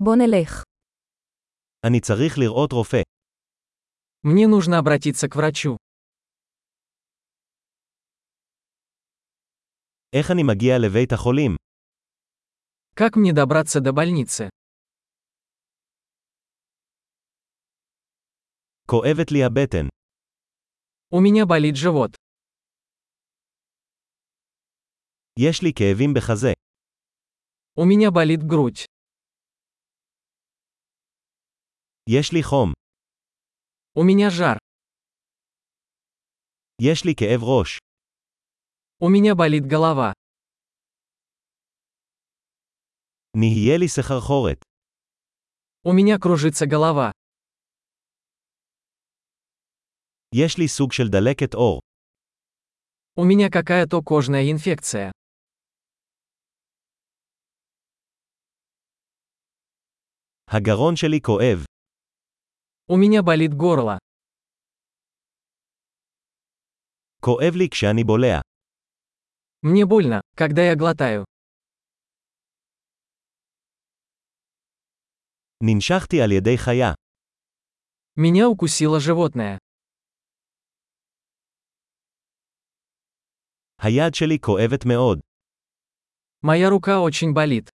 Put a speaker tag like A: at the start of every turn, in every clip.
A: בוא נלך.
B: אני צריך לראות רופא.
C: Мне нужно обратиться к врачу.
B: איך אני מגיע לבית החולים?
C: Как мне добраться до больницы?
B: כואבת לי הבטן.
C: У меня болит живот.
B: יש לי כאבים בחזה.
C: У меня болит грудь.
B: יש לי חום.
C: У меня жар.
B: יש לי כאב ראש.
C: У меня болит голова.
B: נהיה לי סחרחורת.
C: У меня кружится голова.
B: יש לי סוג של דלקת עור.
C: У меня какая-то кожная инфекция.
B: הגרון שלי כואב.
C: У меня болит горло.
B: כואב לי כשאני בולע.
C: Мне больно, когда я глотаю.
B: ננשכתי על ידי חיה.
C: Меня укусило животное.
B: היד שלי כואבת מאוד.
C: Моя рука очень болит.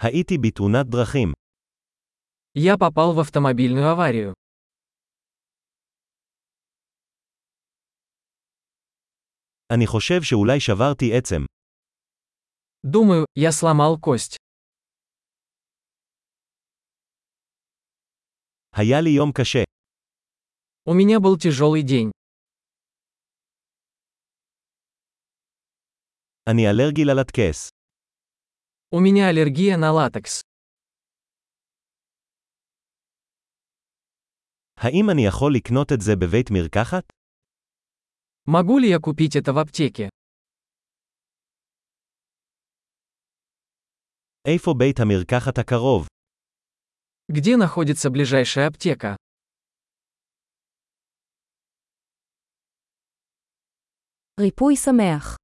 B: הייתי בתאונת דרכים.
C: Я попал в автомобильную аварию.
B: אני חושב שאולי שברתי עצם.
C: Думаю, я сломал кость.
B: היה לי יום קשה.
C: У меня был тяжелый день.
B: אני אלרגי ללטקס.
C: У меня аллергия на латекс.
B: האם אני יכול לקנות את זה בבית מרקחת?
C: Могу ли я купить это в аптеке?
B: איפה בית המרקחת הקרוב?
C: Где находится ближайшая аптека?
A: ריפוי שמח.